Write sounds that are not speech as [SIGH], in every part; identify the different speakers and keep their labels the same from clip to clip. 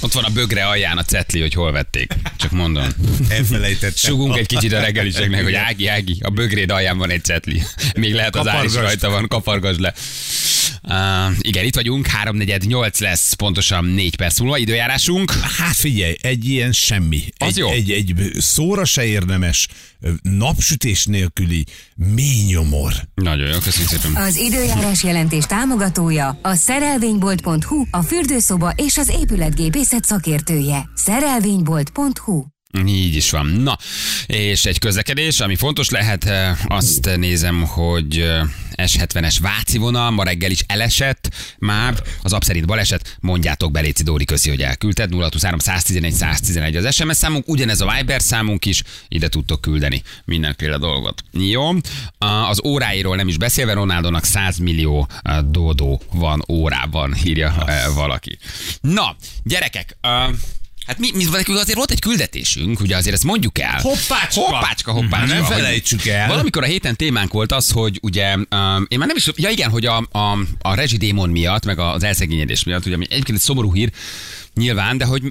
Speaker 1: Ott van a bögre alján a cetli, hogy hol vették. Csak mondom.
Speaker 2: Elfelejtettem.
Speaker 1: Sugunk egy kicsit a reggeliseknek, hogy Ági, Ági, a bögréd alján van egy cetli. Még lehet az ár is
Speaker 2: Kapargasd.
Speaker 1: rajta van, kapargasd le. Uh, igen, itt vagyunk, 3.48 lesz, pontosan 4 perc múlva időjárásunk.
Speaker 2: Hát figyelj, egy ilyen semmi.
Speaker 1: Az
Speaker 2: egy,
Speaker 1: jó.
Speaker 2: Egy, egy szóra se érdemes, napsütés nélküli mély nyomor.
Speaker 1: Nagyon jó, köszönjük szépen.
Speaker 3: Az időjárás jelentés támogatója a szerelvénybolt.hu, a fürdőszoba és az épületgépészet szakértője. Szerelvénybolt.hu
Speaker 1: Így is van. Na, és egy közlekedés, ami fontos lehet, eh, azt nézem, hogy eh, S70-es Váci vonal ma reggel is elesett, már az app szerint baleset, mondjátok be, Léci Dóri, köszi, hogy elküldted, 023 111 111 az SMS számunk, ugyanez a Viber számunk is, ide tudtok küldeni mindenféle dolgot. Jó, Ah, az óráiról nem is beszélve, Ronaldónak 100 millió eh, dódó van órában, írja eh, valaki. Na, gyerekek, eh, Hát mi, mi nekünk azért volt egy küldetésünk, ugye azért ezt mondjuk el.
Speaker 2: Hoppácska!
Speaker 1: Hoppácska, hoppácska.
Speaker 2: Nem
Speaker 1: hogy
Speaker 2: felejtsük el.
Speaker 1: Valamikor a héten témánk volt az, hogy ugye, um, én már nem is, ja igen, hogy a, a, a rezsidémon miatt, meg az elszegényedés miatt, ugye ami egyébként egy szomorú hír, nyilván, de hogy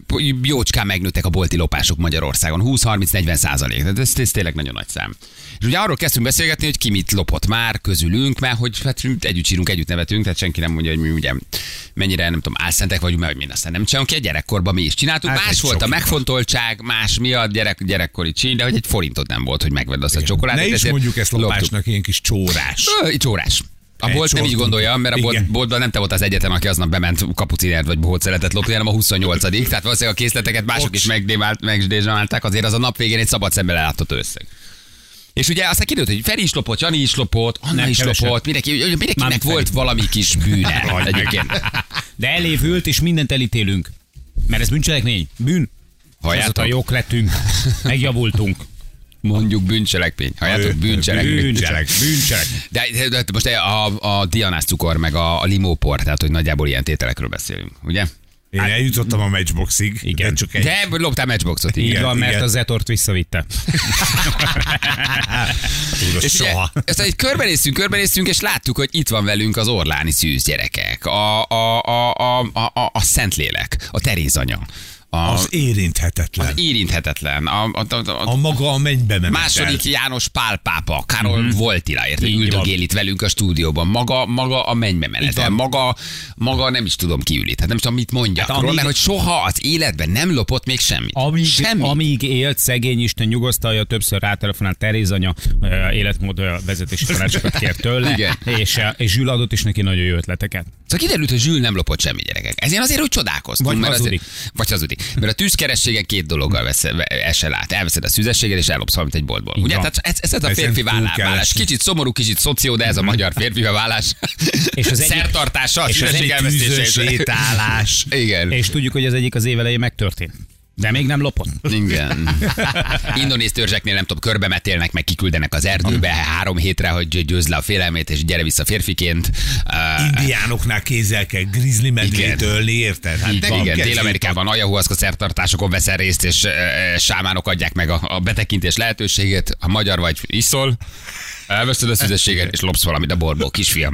Speaker 1: jócskán megnőttek a bolti lopások Magyarországon, 20-30-40 százalék, tehát ez, ez tényleg nagyon nagy szám. És ugye arról kezdtünk beszélgetni, hogy ki mit lopott már közülünk, mert hogy hát együtt sírunk, együtt nevetünk, tehát senki nem mondja, hogy mi ugye mennyire, nem tudom, álszentek vagyunk, mert hogy mi aztán nem csinálunk ki, a gyerekkorban mi is csináltuk.
Speaker 2: Hát
Speaker 1: más
Speaker 2: egy
Speaker 1: volt a
Speaker 2: sok
Speaker 1: megfontoltság, más miatt gyerek, gyerekkori csin, de hogy egy forintot nem volt, hogy megvedd azt a
Speaker 2: Ne
Speaker 1: csokoládét.
Speaker 2: is
Speaker 1: ezért
Speaker 2: mondjuk ezt
Speaker 1: loptuk.
Speaker 2: lopásnak, ilyen kis csórás.
Speaker 1: Ö, Egy órás. A
Speaker 2: Egy
Speaker 1: bolt nem így
Speaker 2: sortunk.
Speaker 1: gondolja, mert a bolt,
Speaker 2: Igen.
Speaker 1: boltban nem te voltál az egyetem, aki aznap bement kapucinát vagy bohóceletet lopni, hanem a 28 Tehát valószínűleg a készleteket mások
Speaker 2: Bocs.
Speaker 1: is megdémált, megdézsálták, azért az a nap végén egy szabad szemmel ellátott összeg. És ugye aztán kiderült, hogy Feri is lopott, Jani is lopott, Anna
Speaker 4: Nem,
Speaker 1: is
Speaker 4: keveset.
Speaker 1: lopott, mindenki, mindenkinek
Speaker 4: Mármint
Speaker 1: volt valami kis
Speaker 2: [LAUGHS]
Speaker 1: bűne
Speaker 4: Rajta.
Speaker 1: egyébként.
Speaker 4: [LAUGHS] De elévült, és mindent elítélünk. Mert ez bűncselekmény. Bűn.
Speaker 1: Halljátok?
Speaker 4: Azóta jók lettünk. Megjavultunk.
Speaker 1: Mondjuk bűncselekmény. Halljátok, bűncselekmény.
Speaker 4: Bűncselek. Bűncselek.
Speaker 1: De, de, de most a, a dianás cukor, meg a, a limópor, tehát hogy nagyjából ilyen tételekről beszélünk, ugye?
Speaker 2: Én eljutottam a matchboxig,
Speaker 4: Igen.
Speaker 2: de csak egy.
Speaker 1: Hát- De loptál matchboxot, igen.
Speaker 4: Így
Speaker 1: [LAUGHS]
Speaker 4: van, mert
Speaker 2: igen.
Speaker 4: az etort visszavitte.
Speaker 2: Úrva,
Speaker 1: És ugye,
Speaker 2: soha.
Speaker 1: aztán egy körbenéztünk, körbenéztünk, és láttuk, hogy itt van velünk az Orláni szűz gyerekek, a, a, a, a, a, a, a Szentlélek, a Teréz anya, a,
Speaker 2: Az
Speaker 1: az,
Speaker 2: érinthetetlen.
Speaker 1: az érinthetetlen, a, a, a, a,
Speaker 2: a maga a mennybe nem
Speaker 1: Második János Pál pápa, Karol mm-hmm. Voltila, érted?
Speaker 4: Mhm. Így
Speaker 1: Üldögél itt velünk a stúdióban. Maga, maga a mennybe menetel, maga, maga nem is tudom kiülít. Hát nem is tudom, mit mondjak. Hát
Speaker 4: Hát
Speaker 1: amíg...
Speaker 4: amíg-
Speaker 1: mert hogy soha az életben nem lopott még semmit.
Speaker 4: Amíg,
Speaker 1: Semmit.
Speaker 4: amíg élt, szegény Isten nyugosztalja, többször rátelefonált Teréz anya, ö, életmód ö, vezetési tanácsokat kért tőle,
Speaker 1: Igen.
Speaker 4: és, ö, és Zsül adott is neki nagyon jó ötleteket.
Speaker 1: Szóval kiderült, hogy Zsül nem lopott semmi gyerekek. Ezért azért úgy csodálkoztunk.
Speaker 4: Vagy
Speaker 1: mert
Speaker 4: hazudik.
Speaker 1: Azért, vagy hazudik. Mert a tűzkerességen két dologgal vesz, esel át. Elveszed a szüzességet, és ellopsz valamit egy boltból. Ugye?
Speaker 4: van.
Speaker 1: Tehát ez, ez, ez a
Speaker 2: Ezen
Speaker 1: férfi
Speaker 2: túl
Speaker 1: vállá-
Speaker 2: kell
Speaker 1: vállás.
Speaker 2: esni.
Speaker 1: Kicsit szomorú, kicsit szoció, de ez a magyar férfi vállás.
Speaker 4: Mhm. És az egyik-
Speaker 1: Szertartása, a
Speaker 4: és az
Speaker 1: szüzesség
Speaker 4: egyik
Speaker 1: elvesztése.
Speaker 2: tűzös étálás.
Speaker 1: Igen.
Speaker 4: És tudjuk, hogy az egyik az éveleje megtörtént. De még nem lopott.
Speaker 1: Igen. [LAUGHS] Indonéz törzseknél nem tudom, körbe metélnek, meg kiküldenek az erdőbe három hétre, hogy gy- győzd le a félelmét, és gyere vissza férfiként. Uh,
Speaker 2: Indiánoknál kézzel kell grizzly medvét
Speaker 1: Igen.
Speaker 2: ölni, érted? Hát
Speaker 1: így
Speaker 2: nem
Speaker 1: van, igen,
Speaker 2: kell
Speaker 1: Dél-Amerikában ayahuasca szertartásokon veszel részt, és uh, sámánok adják meg a, a betekintés lehetőségét. Ha magyar vagy, iszol, elveszted a szüzességet, és lopsz valamit a borból, kisfiam.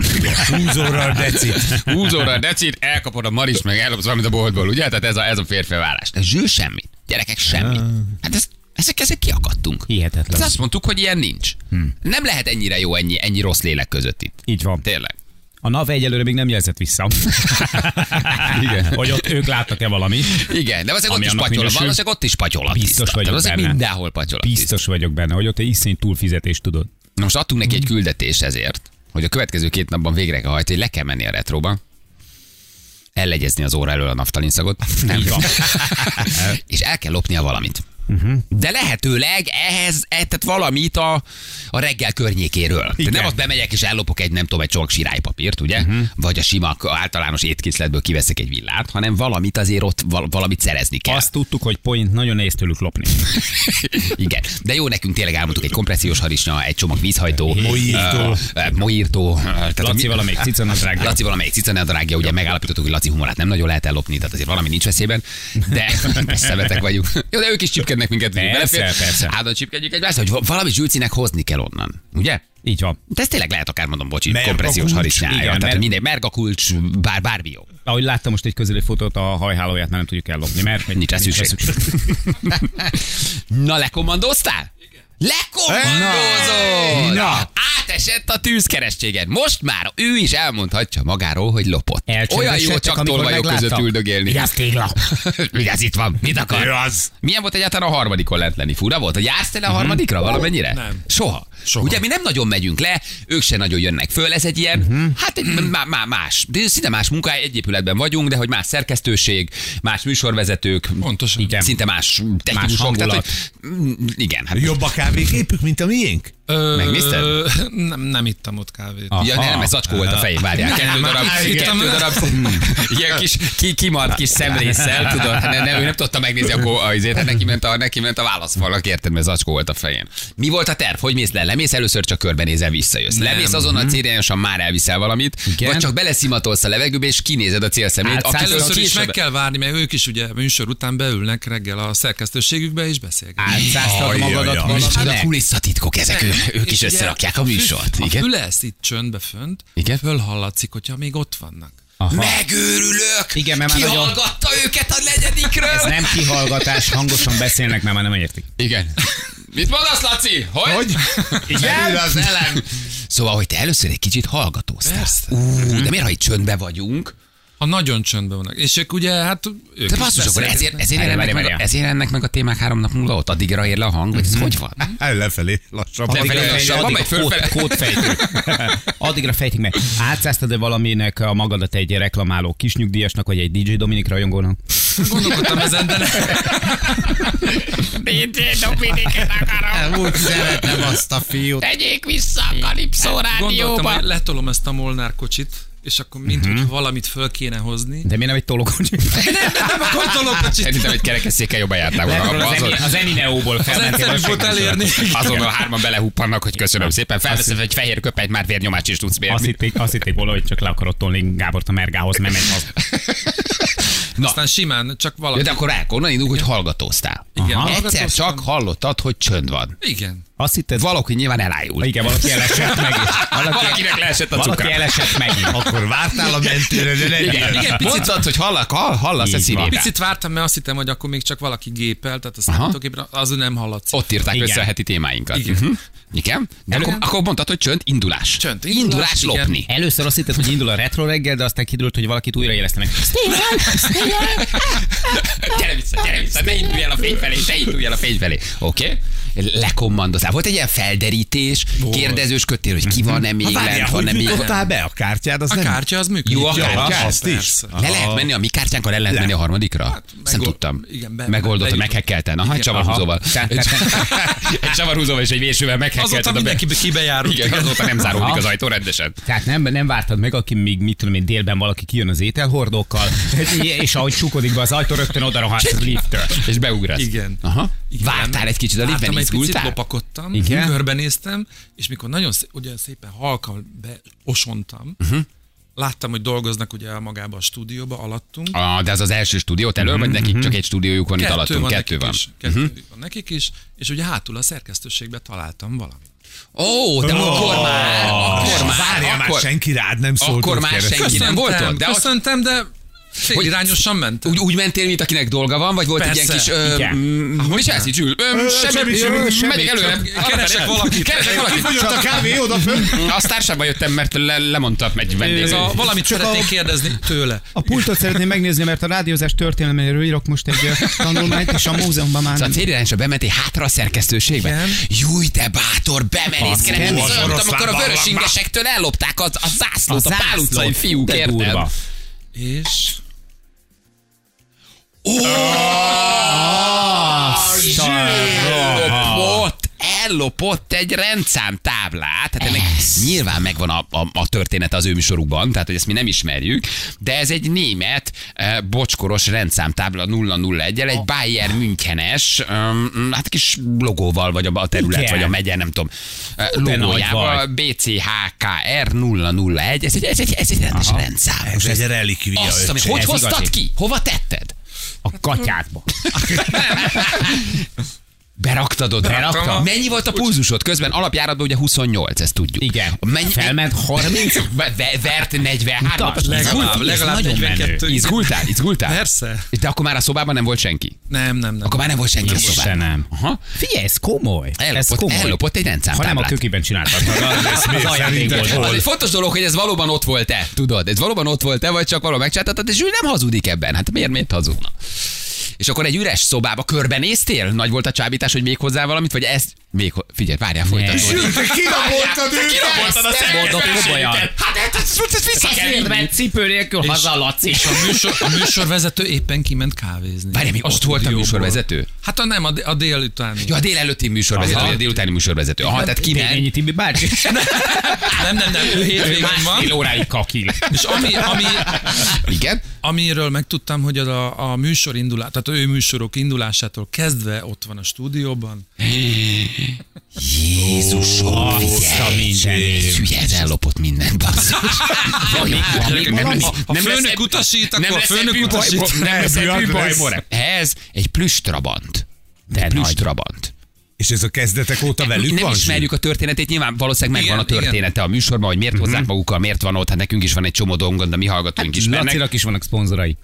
Speaker 2: Húzóra a decit.
Speaker 1: Húzóra a decit, elkapod a marist, meg ellopsz valamit a boltból, ugye? Tehát ez a, ez a férfi vállás. De zsűl semmit. Gyerekek, semmit. Hát ez, ezek, ezek kiakadtunk.
Speaker 4: Hihetetlen.
Speaker 1: Hát azt mondtuk, hogy ilyen nincs.
Speaker 4: Hm.
Speaker 1: Hmm. Nem lehet ennyire jó, ennyi, ennyi rossz lélek között itt.
Speaker 4: Így van.
Speaker 1: Tényleg.
Speaker 4: A NAV egyelőre még nem jelzett vissza.
Speaker 1: [LAUGHS] Igen.
Speaker 4: Hogy ott ők láttak-e valamit.
Speaker 1: Igen, de azért ott
Speaker 4: Ami
Speaker 1: is
Speaker 4: annak
Speaker 1: patyolat,
Speaker 4: minősül.
Speaker 1: valószínűleg ott is patyolat.
Speaker 4: Biztos
Speaker 1: tiszta.
Speaker 4: vagyok
Speaker 1: Tehát Valószínűleg
Speaker 4: benne.
Speaker 1: mindenhol patyolat. tiszta.
Speaker 4: Biztos vagyok benne, hogy ott egy iszony túlfizetést tudod.
Speaker 1: Na most adtunk neki egy küldetés ezért, hogy a következő két napban végre kell hajtani, le kell menni a retróba, ellegyezni az óra elől a naftalin szagot, nem van. [LAUGHS] és el kell lopnia valamit. De lehetőleg ehhez, eh, tehát valamit a, a reggel környékéről. Tehát nem azt bemegyek és ellopok egy, nem tudom, egy csomag sirálypapírt, ugye? Uh-huh. Vagy a sima k- általános étkészletből kiveszek egy villát, hanem valamit azért ott val- valamit szerezni kell.
Speaker 4: Azt tudtuk, hogy point nagyon nehéz tőlük lopni.
Speaker 1: [LAUGHS] Igen. De jó, nekünk tényleg elmondtuk egy kompressziós harisnya, egy csomag vízhajtó,
Speaker 2: Mojító.
Speaker 1: ö, ö, mojírtó, ö, tehát
Speaker 4: Laci
Speaker 1: mi-
Speaker 4: valamelyik cicanadrággal.
Speaker 1: Laci valamelyik cicanadrágja, ugye megállapítottuk,
Speaker 4: [LAUGHS]
Speaker 1: hogy Laci humorát nem nagyon lehet ellopni, tehát azért valami nincs veszélyben, de de szemetek vagyunk. Jó, de ők is csipkednek csipkednek minket, mindig
Speaker 4: Persze,
Speaker 1: belefér.
Speaker 4: persze.
Speaker 1: Áldon csipkedjük egymást, hogy valami zsülcinek hozni kell onnan. Ugye?
Speaker 4: Így van.
Speaker 1: De ez tényleg lehet akár mondom, bocsi,
Speaker 2: Merga
Speaker 1: kompressziós
Speaker 2: kulcs.
Speaker 1: harisnyája.
Speaker 4: Igen,
Speaker 1: Tehát
Speaker 4: mer-
Speaker 1: mer- mindegy, merga kulcs, bár, bármi jó.
Speaker 4: Ahogy láttam most egy közeli fotót, a hajhálóját már nem tudjuk ellopni, mert
Speaker 1: Nincs rá szükség. [LAUGHS] Na, lekommandoztál? Lekommandozol!
Speaker 2: Na. Na.
Speaker 1: Átesett a tűzkeresztséged. Most már ő is elmondhatja magáról, hogy lopott. Olyan jó
Speaker 4: Elcsöndesedtek,
Speaker 1: csak
Speaker 4: amikor
Speaker 1: tolvajok
Speaker 4: megláttak?
Speaker 1: között üldögélni.
Speaker 4: Vigyázz, tégla!
Speaker 1: [LAUGHS] Vigyázz, itt van. Mit akar?
Speaker 2: Ő az.
Speaker 1: Milyen volt egyáltalán a harmadikon lent lenni? Fura volt, hogy jársz tele a harmadikra valamennyire?
Speaker 2: Nem.
Speaker 1: Soha.
Speaker 2: Soha.
Speaker 1: Ugye mi nem nagyon megyünk le, ők se nagyon jönnek föl, ez egy ilyen, uh-huh. hát egy má, má, más, de szinte más munkáj, egy épületben vagyunk, de hogy más szerkesztőség, más műsorvezetők,
Speaker 5: Pontosan.
Speaker 1: Igen. szinte más technikusok.
Speaker 4: hangulat.
Speaker 1: tehát, hogy, mm, igen, hát
Speaker 2: Jobb a kávégépük, mint a miénk?
Speaker 5: Ö,
Speaker 1: Megnézted?
Speaker 5: Nem, nem ittam ott kávét.
Speaker 1: Ja, nem, ez zacskó volt a fején, várjál. Kettő darab,
Speaker 5: hát itt
Speaker 1: kettő
Speaker 5: a-
Speaker 4: [LAUGHS]
Speaker 1: darab, ilyen kis ki, kimart kis szemrésszel, tudod, hát nem, nem, ő nem tudta megnézni, akkor azért, hát neki ment a, neki ment a válaszfalnak, érted, mert zacskó volt a fején. Mi volt a terv? Hogy mész le? Lemész először, csak körbenézel, visszajössz. Lemész azonnal célirányosan, már elviszel valamit,
Speaker 4: Mhm. Igen.
Speaker 1: vagy csak beleszimatolsz a levegőbe, és kinézed a célszemét.
Speaker 4: Hát
Speaker 1: aki
Speaker 4: száz-
Speaker 5: Először
Speaker 1: ki
Speaker 5: is
Speaker 1: is
Speaker 5: meg kell várni, mert ők is ugye műsor után beülnek reggel a szerkesztőségükbe és beszélgetnek.
Speaker 4: Átszáztad magadat
Speaker 2: Ajajaj.
Speaker 4: valami.
Speaker 1: Micsoda kulisszatitkok ezek, ő, ők is
Speaker 5: És ugye
Speaker 1: összerakják a műsort.
Speaker 5: Ha
Speaker 1: Igen?
Speaker 5: fülelsz itt csöndbe fönt,
Speaker 1: Igen.
Speaker 5: fölhallatszik, hogyha még ott vannak.
Speaker 1: Megőrülök!
Speaker 4: Igen, mert már nagyon-
Speaker 1: Kihallgatta őket a negyedikről!
Speaker 4: Ez nem kihallgatás, hangosan beszélnek, mert már nem értik.
Speaker 1: Igen. Mit mondasz, Laci? Hogy?
Speaker 2: Hogy? Merül az ellen.
Speaker 1: Szóval, hogy te először egy kicsit hallgatóztál.
Speaker 5: Persze.
Speaker 1: Ú, de miért, ha itt csöndbe vagyunk?
Speaker 5: Ha nagyon csöndben vannak. És ők ugye, hát ők
Speaker 1: Te
Speaker 5: is
Speaker 1: basszus, akkor
Speaker 5: beszélgetnek.
Speaker 1: ezért, ezért,
Speaker 4: Várjál,
Speaker 1: ennek
Speaker 4: várjál,
Speaker 1: meg, a-
Speaker 4: várjál.
Speaker 1: ezért ennek meg a témák három nap múlva ott, addigra ér le a hang, vagy ez hogy van?
Speaker 2: Ellenfelé lassabban.
Speaker 1: Lefelé
Speaker 4: Addigra
Speaker 1: lassabban
Speaker 4: fejtik-
Speaker 1: megy, fölfele.
Speaker 4: kód- Kódfejtik. Addigra fejtik meg. Átszáztad-e valaminek a magadat egy reklamáló kisnyugdíjasnak, vagy egy DJ Dominik rajongónak?
Speaker 5: Gondolkodtam ezen,
Speaker 1: [LAUGHS]
Speaker 5: de [LAUGHS] nem.
Speaker 2: [LAUGHS] Úgy szeretem azt a fiút. Hát,
Speaker 1: Tegyék vissza a Kalipszó
Speaker 5: Gondoltam, hogy letolom ezt a Molnár kocsit, és akkor mint,
Speaker 1: Mhm.
Speaker 5: uh-huh. valamit föl kéne
Speaker 1: [LAUGHS]
Speaker 5: hozni.
Speaker 4: De miért nem egy tolókocsi?
Speaker 5: Nem, nem, nem akar tolókocsit.
Speaker 1: Szerintem egy kerekesszékkel jobban jártál volna. abba,
Speaker 4: Az,
Speaker 1: Azon,
Speaker 4: az Enineóból
Speaker 5: Az
Speaker 4: felmentél.
Speaker 5: egyszerű volt elérni.
Speaker 1: azonnal hárman belehuppannak, hogy köszönöm szépen. Felveszed egy fehér köpenyt, már vérnyomást is tudsz
Speaker 4: Azt
Speaker 1: mérni.
Speaker 4: hitték, azt hitték volna, hogy csak le akarod tolni Gábort a mergához, nem megy az.
Speaker 1: Na,
Speaker 5: Aztán simán, csak
Speaker 1: Ja,
Speaker 5: valami.
Speaker 1: de akkor el, onnan indulunk, hogy hallgatóztál.
Speaker 5: Igen,
Speaker 1: Aha. Egyszer
Speaker 5: hallgatóztam.
Speaker 1: csak hallottad, hogy csönd van.
Speaker 5: Igen.
Speaker 4: Azt hitted,
Speaker 1: Valaki nyilván elájul.
Speaker 4: igen, valaki elesett meg. Valaki,
Speaker 1: Valakinek leesett a
Speaker 4: valaki
Speaker 1: cukra.
Speaker 4: elesett meg.
Speaker 2: Akkor vártál a mentőre, de nem
Speaker 1: Igen,
Speaker 2: jön.
Speaker 1: igen, picit Mondtad, hogy hallak, hall, hallasz a
Speaker 4: Így van.
Speaker 1: szívében.
Speaker 5: Picit vártam, mert azt hittem, hogy akkor még csak valaki gépel, tehát a
Speaker 1: Aha.
Speaker 5: számítógépre az nem hallatszik.
Speaker 1: Ott írták
Speaker 4: Igen.
Speaker 1: össze a heti témáinkat.
Speaker 5: Igen.
Speaker 1: Mhm. Igen. De akkor,
Speaker 5: Igen.
Speaker 1: akkor mondtad, hogy csönd, indulás.
Speaker 5: Csönd,
Speaker 1: indulás,
Speaker 5: indulás,
Speaker 1: indulás
Speaker 5: igen.
Speaker 1: lopni.
Speaker 4: Először azt hitted, hogy indul a retro reggel, de aztán kiderült, hogy valakit újra éreztenek.
Speaker 1: gyere vissza, gyere vissza, ne indulj el a fény felé, ne indulj el a fény felé. Oké? Okay? Lekommandozál. Volt egy ilyen felderítés, kérdezős kötél, hogy ki van-e még
Speaker 2: Hát Várjál,
Speaker 1: lent, van-e
Speaker 2: hogy
Speaker 1: még
Speaker 2: jutottál be a kártyád? Az
Speaker 5: A
Speaker 2: nem...
Speaker 5: kártya az működik.
Speaker 1: Jó, a
Speaker 5: Ja,
Speaker 1: kártya?
Speaker 2: Azt
Speaker 5: persze.
Speaker 2: is?
Speaker 1: Le lehet menni a mi kártyánkkal, el lehet menni a harmadikra? Hát, nem
Speaker 5: megol-
Speaker 1: tudtam.
Speaker 5: igen, be-
Speaker 1: Megoldott,
Speaker 5: bejutott.
Speaker 1: meghekkelten. Aha, egy
Speaker 5: Igen,
Speaker 1: csavarhúzóval.
Speaker 4: aha.
Speaker 1: Egy- [LAUGHS] Egy csavarhúzóval és egy vésővel
Speaker 5: Azóta
Speaker 1: meghekkelted. a be-
Speaker 5: mindenki kibejárult.
Speaker 1: Igen, azóta nem záródik
Speaker 4: Aha.
Speaker 1: az ajtó rendesen.
Speaker 4: Tehát nem, nem vártad meg, aki még, mit tudom én, délben valaki kijön az ételhordókkal, és ahogy csukodik be az ajtó, rögtön oda rohansz a lifttől.
Speaker 1: És beugrasz.
Speaker 5: Igen.
Speaker 1: Aha.
Speaker 5: Igen.
Speaker 1: Vártál egy kicsit, a liftben
Speaker 5: Vártam egy picit,
Speaker 1: izgultál?
Speaker 5: lopakodtam,
Speaker 4: Igen.
Speaker 5: körbenéztem, és mikor nagyon szé- ugye szépen halkan beosontam,
Speaker 1: Mhm.
Speaker 5: láttam, hogy dolgoznak ugye magába a stúdióba, alattunk.
Speaker 1: Ah, de ez az első stúdiót elő, vagy nekik csak egy stúdiójuk van itt alattunk? Kettő
Speaker 5: Mhm. nekik
Speaker 1: van. Mhm.
Speaker 5: Is, kettő van nekik is, és ugye hátul a szerkesztőségbe találtam valamit.
Speaker 1: Ó, de akkor már, akkor
Speaker 2: Várjál
Speaker 1: már,
Speaker 2: már,
Speaker 1: akkor,
Speaker 2: senki rád nem szólt.
Speaker 1: akkor
Speaker 2: ott
Speaker 1: már
Speaker 2: keresztül.
Speaker 1: senki nem volt ott, de azt-
Speaker 5: köszöntem, de hogy irányosan mentem.
Speaker 1: úgy, úgy mentél, mint akinek dolga van, vagy volt egy
Speaker 5: Persze,
Speaker 1: ilyen kis... Ö,
Speaker 4: igen.
Speaker 1: mm, mi se eszi, Csül? Ö, Semmi, semmi,
Speaker 2: semmi, semmi,
Speaker 1: semmi,
Speaker 2: semmi,
Speaker 1: megyek előre.
Speaker 5: csak keresek valakit.
Speaker 1: Keresek valakit.
Speaker 2: Kifogyott a kávé oda fönn.
Speaker 1: Azt társában jöttem, mert le, lemondta egy vendég.
Speaker 5: Ez a, valamit
Speaker 2: Csak
Speaker 5: szeretnék
Speaker 2: a-
Speaker 5: kérdezni tőle.
Speaker 4: A pultot szeretném megnézni, mert a rádiózás történelméről írok most egy ö, tanulmányt, és a múzeumban már
Speaker 1: Szóval
Speaker 4: nem.
Speaker 1: a célirányosra bementél hátra a szerkesztőségbe.
Speaker 5: Igen.
Speaker 1: Júj, te bátor, bemerész keresztül.
Speaker 2: kemény.
Speaker 1: Az olyan, mint amikor a
Speaker 2: Oroszlán
Speaker 1: vörös
Speaker 2: barlangba.
Speaker 1: ingesektől ellopták az, a zászlót, a, a pál utcai fiúk,
Speaker 4: de
Speaker 1: érted?
Speaker 4: durva.
Speaker 5: És
Speaker 1: Ellopott, ellopott egy rendszám táblát. Hát ennek nyilván megvan a, a, a története az ő műsorukban, tehát hogy ezt mi nem ismerjük, de ez egy német eh, bocskoros rendszámtábla 001-el,
Speaker 4: Oh.
Speaker 1: egy Bayern Münchenes, um, hát kis logóval, vagy a, a terület,
Speaker 4: Igen.
Speaker 1: vagy a megye, nem tudom, eh,
Speaker 4: de nagy
Speaker 1: logójával,
Speaker 4: vagy.
Speaker 1: BCHKR 001, ez egy, ez egy, ez egy rendes rendszám.
Speaker 2: Ez egy relikvia.
Speaker 1: Azt, amit
Speaker 2: öcsém.
Speaker 1: hogy
Speaker 4: ez
Speaker 1: hoztad
Speaker 4: igazi.
Speaker 1: ki? Hova tetted?
Speaker 4: A a katyádba.
Speaker 1: [LAUGHS] Beraktad oda.
Speaker 4: Beraktam.
Speaker 1: Beraktam. Mennyi volt a pulzusod? Közben alapjáratban ugye 28, ezt tudjuk.
Speaker 4: Igen.
Speaker 1: Mennyi,
Speaker 4: Felment
Speaker 1: 30? [LAUGHS] Vert 43.
Speaker 4: Mutasd.
Speaker 5: Legalább,
Speaker 4: Izgult-
Speaker 5: legalább
Speaker 4: nagyon
Speaker 5: 42.
Speaker 1: Izgultál? Izgultál?
Speaker 5: Persze.
Speaker 1: És De akkor már a szobában nem volt senki?
Speaker 5: Nem, nem, nem.
Speaker 1: Akkor már nem volt senki a
Speaker 4: Nem volt.
Speaker 1: szobában?
Speaker 4: Se nem.
Speaker 1: Aha.
Speaker 4: Figyelj, ez komoly. ez
Speaker 1: Ellopott,
Speaker 4: komoly.
Speaker 1: ellopott egy
Speaker 4: ha nem a
Speaker 1: rendszámtáblát.
Speaker 4: kökiben csináltad, az, [LAUGHS] az, az ajándékból
Speaker 2: Szerinted
Speaker 4: volt.
Speaker 1: Az
Speaker 2: hol?
Speaker 1: egy fontos dolog, hogy ez valóban ott volt-e, tudod? Ez valóban ott volt-e, vagy csak valóban megcsátáltad, és ő nem hazudik ebben. Hát miért, miért hazudna? És akkor egy üres szobába körbenéztél? Nagy volt a csábítás, hogy még hozzá valamit, vagy ezt? Még, ho- figyelj, várjál, folytatódik.
Speaker 2: Sőt, te kiraboltad őket!
Speaker 1: Kiraboltad a
Speaker 4: Mondok,
Speaker 1: szerkesztőséget!
Speaker 4: nem olyan.
Speaker 1: Hát ez, ez, ez, ez vissza kell vinni.
Speaker 4: cipő nélkül haza, Laci.
Speaker 5: És a, műsor, a műsorvezető éppen kiment kávézni.
Speaker 1: Várj, még
Speaker 5: A
Speaker 1: ott volt a
Speaker 5: stúdióból.
Speaker 1: műsorvezető?
Speaker 5: Hát a nem, a, dé- a délutáni.
Speaker 1: Ja, a délelőtti műsorvezető,
Speaker 4: Aha.
Speaker 1: vagy a délutáni műsorvezető. Aha, tehát kiment.
Speaker 4: Tényi [LAUGHS] Tibi bácsi.
Speaker 5: Nem, nem, nem, ő hétvégén
Speaker 4: Másfél
Speaker 5: van.
Speaker 4: óráig [LAUGHS] kakil.
Speaker 5: És ami, ami,
Speaker 1: Igen?
Speaker 5: amiről megtudtam, hogy az a, a műsor indulás, tehát ő műsorok indulásától kezdve ott van a stúdióban.
Speaker 1: Jézusom, figyelj! Hülye, ez ellopott minden, basszus. Vajon van még valami?
Speaker 5: Ha a
Speaker 1: Nem lesz
Speaker 5: főnök
Speaker 1: ebből-
Speaker 5: utasít, akkor
Speaker 1: nem
Speaker 5: a
Speaker 1: lesz
Speaker 5: főnök
Speaker 1: ebből baj,
Speaker 5: utasít.
Speaker 1: bo- [LAUGHS] nem lesz
Speaker 2: Ebből
Speaker 1: ebből baj,
Speaker 2: lesz.
Speaker 1: Bore. Ez egy plüss trabant. De egy plüss trabant.
Speaker 2: És ez a kezdetek óta velük
Speaker 1: nem
Speaker 2: van?
Speaker 1: ismerjük a történetét, nyilván valószínűleg megvan a
Speaker 5: Igen, igen. Mhm.
Speaker 1: története a műsorban, hogy miért hozzák magukkal, miért van ott, hát nekünk is van egy csomó dolgunk, de mi
Speaker 5: Hát
Speaker 1: hallgatóink is mennek.
Speaker 4: Lacinak is vannak szponzorai.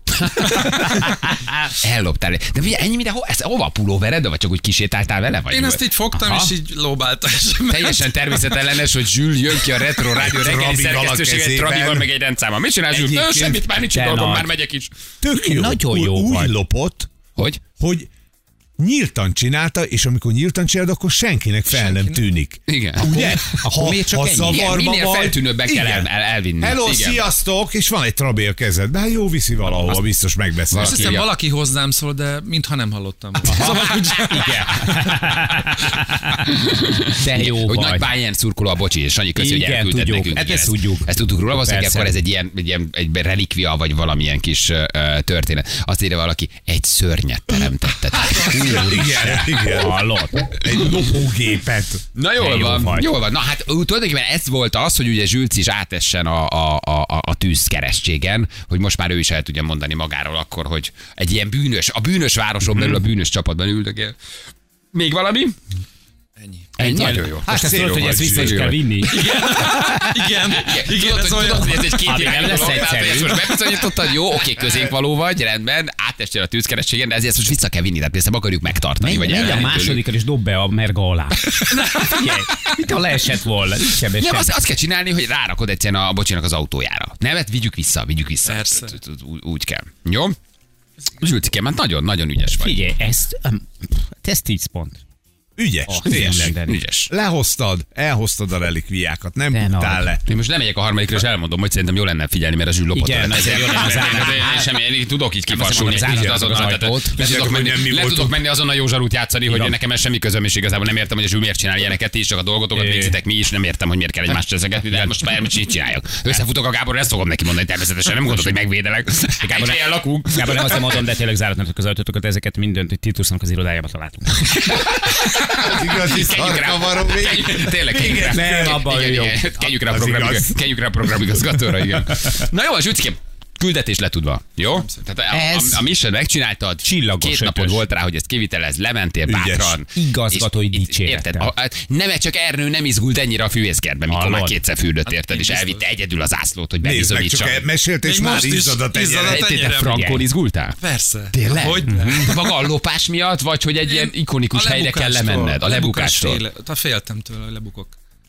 Speaker 1: Elloptál. De ugye ennyi minden, ho- ez hova a pulóvered, vagy csak úgy kisétáltál vele? Vagy
Speaker 5: Én
Speaker 1: mi
Speaker 5: ezt
Speaker 1: volt?
Speaker 5: így fogtam,
Speaker 1: Aha.
Speaker 5: és így lóbáltam. és
Speaker 1: Teljesen természetellenes, hogy Zsül jön ki a Retro Rádió reggeli
Speaker 2: Trabival a
Speaker 1: szerkesztőséget,
Speaker 2: kezében.
Speaker 1: Trabival meg egy rendszámmal. Mit csinál Zsül?
Speaker 4: Egyébként
Speaker 1: Ö, Semmit, már nincs
Speaker 4: te
Speaker 1: dolgom,
Speaker 4: nagy.
Speaker 1: már megyek is.
Speaker 2: Tök jó.
Speaker 4: Nagyon jó
Speaker 2: Ú-
Speaker 4: vagy.
Speaker 2: Úgy lopott,
Speaker 1: Hogy?
Speaker 2: hogy nyíltan csinálta, és amikor nyíltan csinálod, akkor senkinek fel nem tűnik.
Speaker 1: Igen.
Speaker 2: Ugye?
Speaker 1: Akkor miért csak
Speaker 2: ha
Speaker 1: ennyi? Igen,
Speaker 2: zavarba
Speaker 1: minél
Speaker 2: vagy,
Speaker 1: feltűnőbben kell
Speaker 2: igen.
Speaker 1: el, el, elvinni.
Speaker 2: Hello,
Speaker 1: Igen.
Speaker 2: sziasztok! És van egy trabé a kezedben, hát jó, viszi valahova, biztos megbeszél.
Speaker 5: [LAUGHS] Azt hiszem,
Speaker 1: írja.
Speaker 5: valaki hozzám szól, de mintha nem hallottam. Szóval, hogy
Speaker 4: [LAUGHS] Igen. De jó
Speaker 1: hogy nagy
Speaker 4: vagy.
Speaker 1: Bayern szurkoló a bocsi, és Sanyi közi, hogy
Speaker 4: Igen,
Speaker 1: elküldted
Speaker 4: tudjuk.
Speaker 1: nekünk.
Speaker 4: Hát
Speaker 1: Igen,
Speaker 4: ezt tudjuk.
Speaker 1: Ezt tudtuk róla, valószínűleg
Speaker 4: Persze.
Speaker 1: akkor ez egy ilyen, egy ilyen egy relikvia, vagy valamilyen kis ö, ö, történet. Azt írja valaki, egy szörnyet teremtettetek. [LAUGHS]
Speaker 2: Igen, igen.
Speaker 4: Hallott?
Speaker 2: Egy lopógépet.
Speaker 1: Na jól
Speaker 4: De jó
Speaker 1: van,
Speaker 4: vagy.
Speaker 1: jól van. Na hát ú, tulajdonképpen ez volt az, hogy ugye Zsülc is átessen a, a, a, a- a tűz keresztségen, hogy most már ő is el tudja mondani magáról akkor, hogy egy ilyen bűnös, a bűnös
Speaker 4: Mhm.
Speaker 1: városon belül, a bűnös csapatban üldögél. Még valami?
Speaker 5: ennyi.
Speaker 1: Egy nagyon jó.
Speaker 4: Hát
Speaker 1: Most
Speaker 4: ezt
Speaker 1: célra
Speaker 4: tudod, hogy
Speaker 1: vagy,
Speaker 4: ezt vissza is
Speaker 1: Zsül,
Speaker 4: kell
Speaker 1: vagy.
Speaker 4: vinni.
Speaker 5: Igen, igen,
Speaker 1: tudod,
Speaker 5: ez
Speaker 1: hogy, tudod,
Speaker 5: olyan.
Speaker 1: hogy ez egy két
Speaker 4: Hát igen,
Speaker 1: irányú
Speaker 4: lesz
Speaker 1: dolog, tehát,
Speaker 4: egyszerű.
Speaker 1: hogy ezt most bebizonyítottad, jó, oké,
Speaker 4: [LAUGHS]
Speaker 1: közénk való vagy, rendben, átestél a tűzkerességen, de ezért ezt most vissza kell vinni, tehát ezt nem akarjuk megtartani.
Speaker 4: Menj,
Speaker 1: vagy
Speaker 4: menj a
Speaker 1: elvenni tőlük.
Speaker 4: másodikkal, és dob be a merga [LAUGHS] alá. Figyelj, mit ha leesett volna? Nincs ebben
Speaker 1: Nem,
Speaker 4: semmi.
Speaker 1: azt, azt kell csinálni, hogy rárakod egyszerűen a bocsinak az autójára. Nevet vigyük vissza, vigyük vissza.
Speaker 5: Persze.
Speaker 1: Ú- ú- ú- Úgy kell. Jó? Zsülcike, már nagyon-nagyon ügyes vagy.
Speaker 4: Figyelj, ezt, öm, ez 10 pont.
Speaker 2: Ügyes,
Speaker 4: Ah,
Speaker 2: tényleg.
Speaker 4: tényleg.
Speaker 1: Ügyes.
Speaker 2: Lehoztad, elhoztad a relikviákat, nem
Speaker 4: De
Speaker 2: buktál
Speaker 4: nagy.
Speaker 2: le.
Speaker 1: Én most lemegyek a harmadikra, és elmondom, hogy szerintem jó lenne figyelni, mert a zsűl lopott.
Speaker 4: Igen,
Speaker 1: a-
Speaker 4: ezért jó lenne az állat.
Speaker 1: Én Semmi, én tudok így kifassulni.
Speaker 4: mondom, az
Speaker 1: Zárd
Speaker 4: állat
Speaker 1: azonnal,
Speaker 4: az
Speaker 1: tehát
Speaker 4: ajtót.
Speaker 1: Le tudok
Speaker 2: Figyelj,
Speaker 1: menni,
Speaker 2: hogy nem mi
Speaker 1: le
Speaker 2: voltunk.
Speaker 1: tudok menni azonnal Józsarút játszani, hogy
Speaker 4: Igen.
Speaker 1: nekem ez semmi közöm, és igazából nem értem, hogy a zsűl miért csinál ilyeneket, ti is csak a dolgotokat
Speaker 4: É.
Speaker 1: végzitek, mi is nem értem, hogy miért kell egymást
Speaker 4: Hát,
Speaker 1: ezeket, de most már mit így csináljuk. Összefutok a Gáborral, ezt fogom neki mondani természetesen, nem gondolod, hogy megvédelek. Gábor, helyen lakunk.
Speaker 4: Gábor, nem azért mondom, de tényleg záratnak az ajtótokat, ezeket mindent Titusnak az irodájában találtunk.
Speaker 2: Igazi
Speaker 1: Kenjük rá.
Speaker 2: szarkavarom még.
Speaker 1: Kenjük- Tényleg kenjük rá.
Speaker 4: Nem,
Speaker 1: Igen,
Speaker 4: abban
Speaker 1: igen,
Speaker 4: ő jó.
Speaker 1: igen. Kenjük rá a
Speaker 2: Az
Speaker 1: programigaz-
Speaker 2: igaz.
Speaker 1: kenjük rá a programigazgatóra, igen. Na jó, Zsücikém, küldetés letudva, jó? Tehát a,
Speaker 4: Ez-
Speaker 1: a, a mission megcsináltad,
Speaker 4: Csillagos
Speaker 1: két napod
Speaker 4: ötös.
Speaker 1: volt rá, hogy ezt kivitelez, lementél
Speaker 2: Ügyes.
Speaker 1: bátran.
Speaker 4: Igazgatói
Speaker 1: És- és-
Speaker 4: dicsérettel.
Speaker 1: Érted? A, a, nem, csak Ernő nem izgult ennyire a fűvészkertben, mikor
Speaker 4: Hallod?
Speaker 1: már kétszer fürdött,
Speaker 5: Hát
Speaker 1: érted,
Speaker 5: így
Speaker 1: és
Speaker 5: biztos.
Speaker 1: elvitte egyedül az ászlót, hogy
Speaker 2: Nézd meg,
Speaker 1: bebizonyítsa.
Speaker 2: csak elmesélt, és
Speaker 5: Még
Speaker 2: már
Speaker 5: most is
Speaker 2: izzad a
Speaker 5: izzad
Speaker 2: tenyere.
Speaker 5: a tenyere.
Speaker 1: Te, te
Speaker 5: tenyerem.
Speaker 1: frankon
Speaker 4: Ugye.
Speaker 1: izgultál?
Speaker 5: Persze.
Speaker 1: Tényleg?
Speaker 5: Hogy ne?
Speaker 1: De maga a lopás miatt, vagy hogy egy ilyen ikonikus
Speaker 5: A
Speaker 1: helyre kell
Speaker 5: lebukástól.
Speaker 1: lemenned? A lebukástól.
Speaker 5: féle- Tehát féltem tőle, hogy lebukok.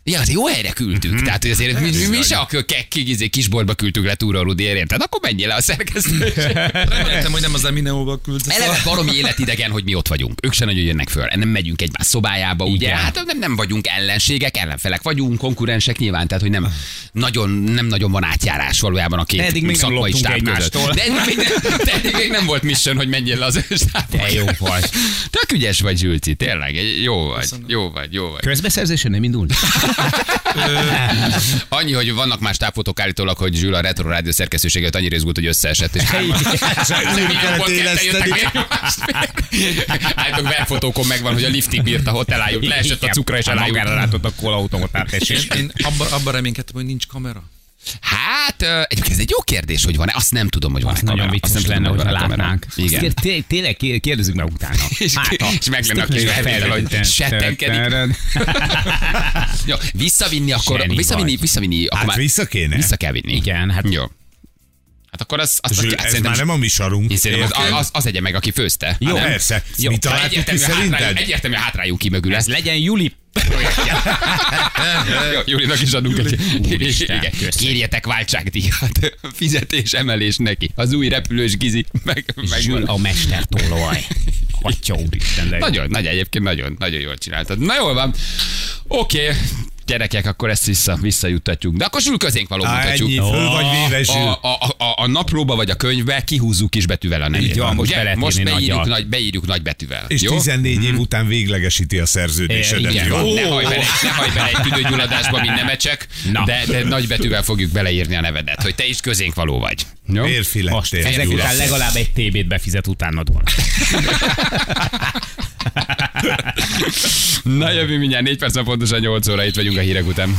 Speaker 1: Ja, azért jó helyre küldtük.
Speaker 4: Mhm.
Speaker 1: Mm-hmm. Tehát hogy azért mi, mi, mi se a kek- kik- izé, kisboltba küldtük le túra a Rudiért, érted? Akkor menjél le a
Speaker 4: [LAUGHS]
Speaker 1: szerkesztőségbe.
Speaker 5: Reméltem, hogy nem az Emineóba küldte.
Speaker 1: Eleve
Speaker 4: Szóval-
Speaker 1: baromi életidegen, hogy mi ott vagyunk. Ők se nagyon jönnek föl. Nem megyünk egymás szobájába, ugye?
Speaker 4: Igen.
Speaker 1: Hát nem, nem vagyunk ellenségek, ellenfelek vagyunk, konkurensek nyilván, tehát hogy nem nagyon, nem nagyon van átjárás valójában a két
Speaker 4: De eddig még nem
Speaker 1: szakmai
Speaker 4: loptunk
Speaker 1: stáb között.
Speaker 4: egymástól.
Speaker 1: De eddig, még nem, de eddig még nem volt mission, hogy menjél le az stábba.
Speaker 4: De jó vagy.
Speaker 1: Tök ügyes vagy, Zsülci, tényleg. Jó vagy, jó vagy, jó vagy.
Speaker 4: Közbeszerzésen nem indul?
Speaker 1: Annyi, hogy vannak más tápfotók állítólag, hogy Zsül a Retro Rádió szerkesztőséget annyira izgult, hogy összeesett, és hárman.
Speaker 4: [LAUGHS]
Speaker 2: Újra kellett éleszteni.
Speaker 1: Állítok, verfotókon Hát, megvan, hogy a liftig bírt a hotelájuk, leesett a cukra, és
Speaker 4: a
Speaker 1: elájuk.
Speaker 4: magára látott a kólautomat áttesés.
Speaker 5: Én, én abban abba reménykedtem, hogy nincs kamera.
Speaker 1: Hát, ö, egyébként ez egy jó kérdés, hogy van-e. Azt nem tudom, hogy van-e
Speaker 4: Azt nagyon
Speaker 1: kamera. Azt nem
Speaker 4: vicces
Speaker 1: tudom,
Speaker 4: lenne,
Speaker 1: hogy
Speaker 4: hogyha
Speaker 1: van-e kamera.
Speaker 4: látnánk.
Speaker 1: Igen.
Speaker 4: Azt kér- té- Tényleg ké- kérdezzük meg [LAUGHS] utána.
Speaker 1: És,
Speaker 4: Hát, ha-
Speaker 1: és meg lenne a
Speaker 4: Tök
Speaker 1: kis
Speaker 4: jó,
Speaker 1: felvétel,
Speaker 4: felvétel.
Speaker 1: hogy settenkedik. Jó, visszavinni akkor,
Speaker 4: Zseni
Speaker 1: visszavinni,
Speaker 4: vagy.
Speaker 1: visszavinni, akkor
Speaker 2: Hát
Speaker 1: már
Speaker 2: vissza kéne?
Speaker 1: vissza kell vinni.
Speaker 4: Igen, hát
Speaker 1: Jó. Hát akkor az, azt,
Speaker 2: Zsül,
Speaker 1: azt,
Speaker 2: ez már nem a mi sarunk.
Speaker 1: én szerintem az,
Speaker 2: érted?
Speaker 1: az, az egye meg, aki főzte.
Speaker 2: Jó,
Speaker 1: Hát nem?
Speaker 2: persze. Mi
Speaker 1: Hát
Speaker 2: találtuk ki
Speaker 1: egyértelmű hátrány-
Speaker 2: szerinted?
Speaker 1: Egyértelmű hátrájuk ki mögül
Speaker 4: ez
Speaker 1: ezt.
Speaker 4: legyen Juli.
Speaker 2: Eh,
Speaker 1: [LAUGHS] Jó, Júlinak is adunk egy. [LAUGHS]
Speaker 4: Úristen,
Speaker 1: Igen.
Speaker 4: köszönöm.
Speaker 1: Kérjetek váltságdíjat, [LAUGHS] fizetés emelés neki. Az új repülős gizi [LAUGHS] meg,
Speaker 4: Zsül
Speaker 1: meg
Speaker 4: a [LAUGHS] mestertólolaj. Atya úristen, de jó.
Speaker 1: Nagyon, nagy egyébként, nagyon, nagyon jól csináltad. Na jól van. Oké, gyerekek, akkor ezt vissza, visszajuttatjuk. De akkor sül közénk való
Speaker 2: Á,
Speaker 1: mutatjuk.
Speaker 2: ennyi, föl vagy véve, Zsül.
Speaker 1: A, a, a, a, naplóba vagy a könyvbe kihúzzuk kis betűvel a nevét.
Speaker 4: Így van, most be lehet
Speaker 1: most
Speaker 4: írni
Speaker 1: beírjuk
Speaker 4: nagyjal.
Speaker 1: nagy, beírjuk nagy betűvel.
Speaker 2: És
Speaker 1: jó?
Speaker 2: 14
Speaker 4: Mhm.
Speaker 2: év után véglegesíti a szerződésedet.
Speaker 1: Igen, van.
Speaker 2: jó?
Speaker 1: Ne hajj bele, ne hajj bele egy tüdőgyulladásba, mint nemecsek,
Speaker 4: Na.
Speaker 1: de, de nagy betűvel fogjuk beleírni a nevedet, hogy te is közénk való vagy. Jó?
Speaker 2: Férfi
Speaker 4: Most
Speaker 2: lettél,
Speaker 4: ezek
Speaker 2: Gyula.
Speaker 4: után legalább egy TB-t befizet utánad volna.
Speaker 1: Na jövő mindjárt, 4 perc pontosan 8 óra, itt vagyunk a hírek után.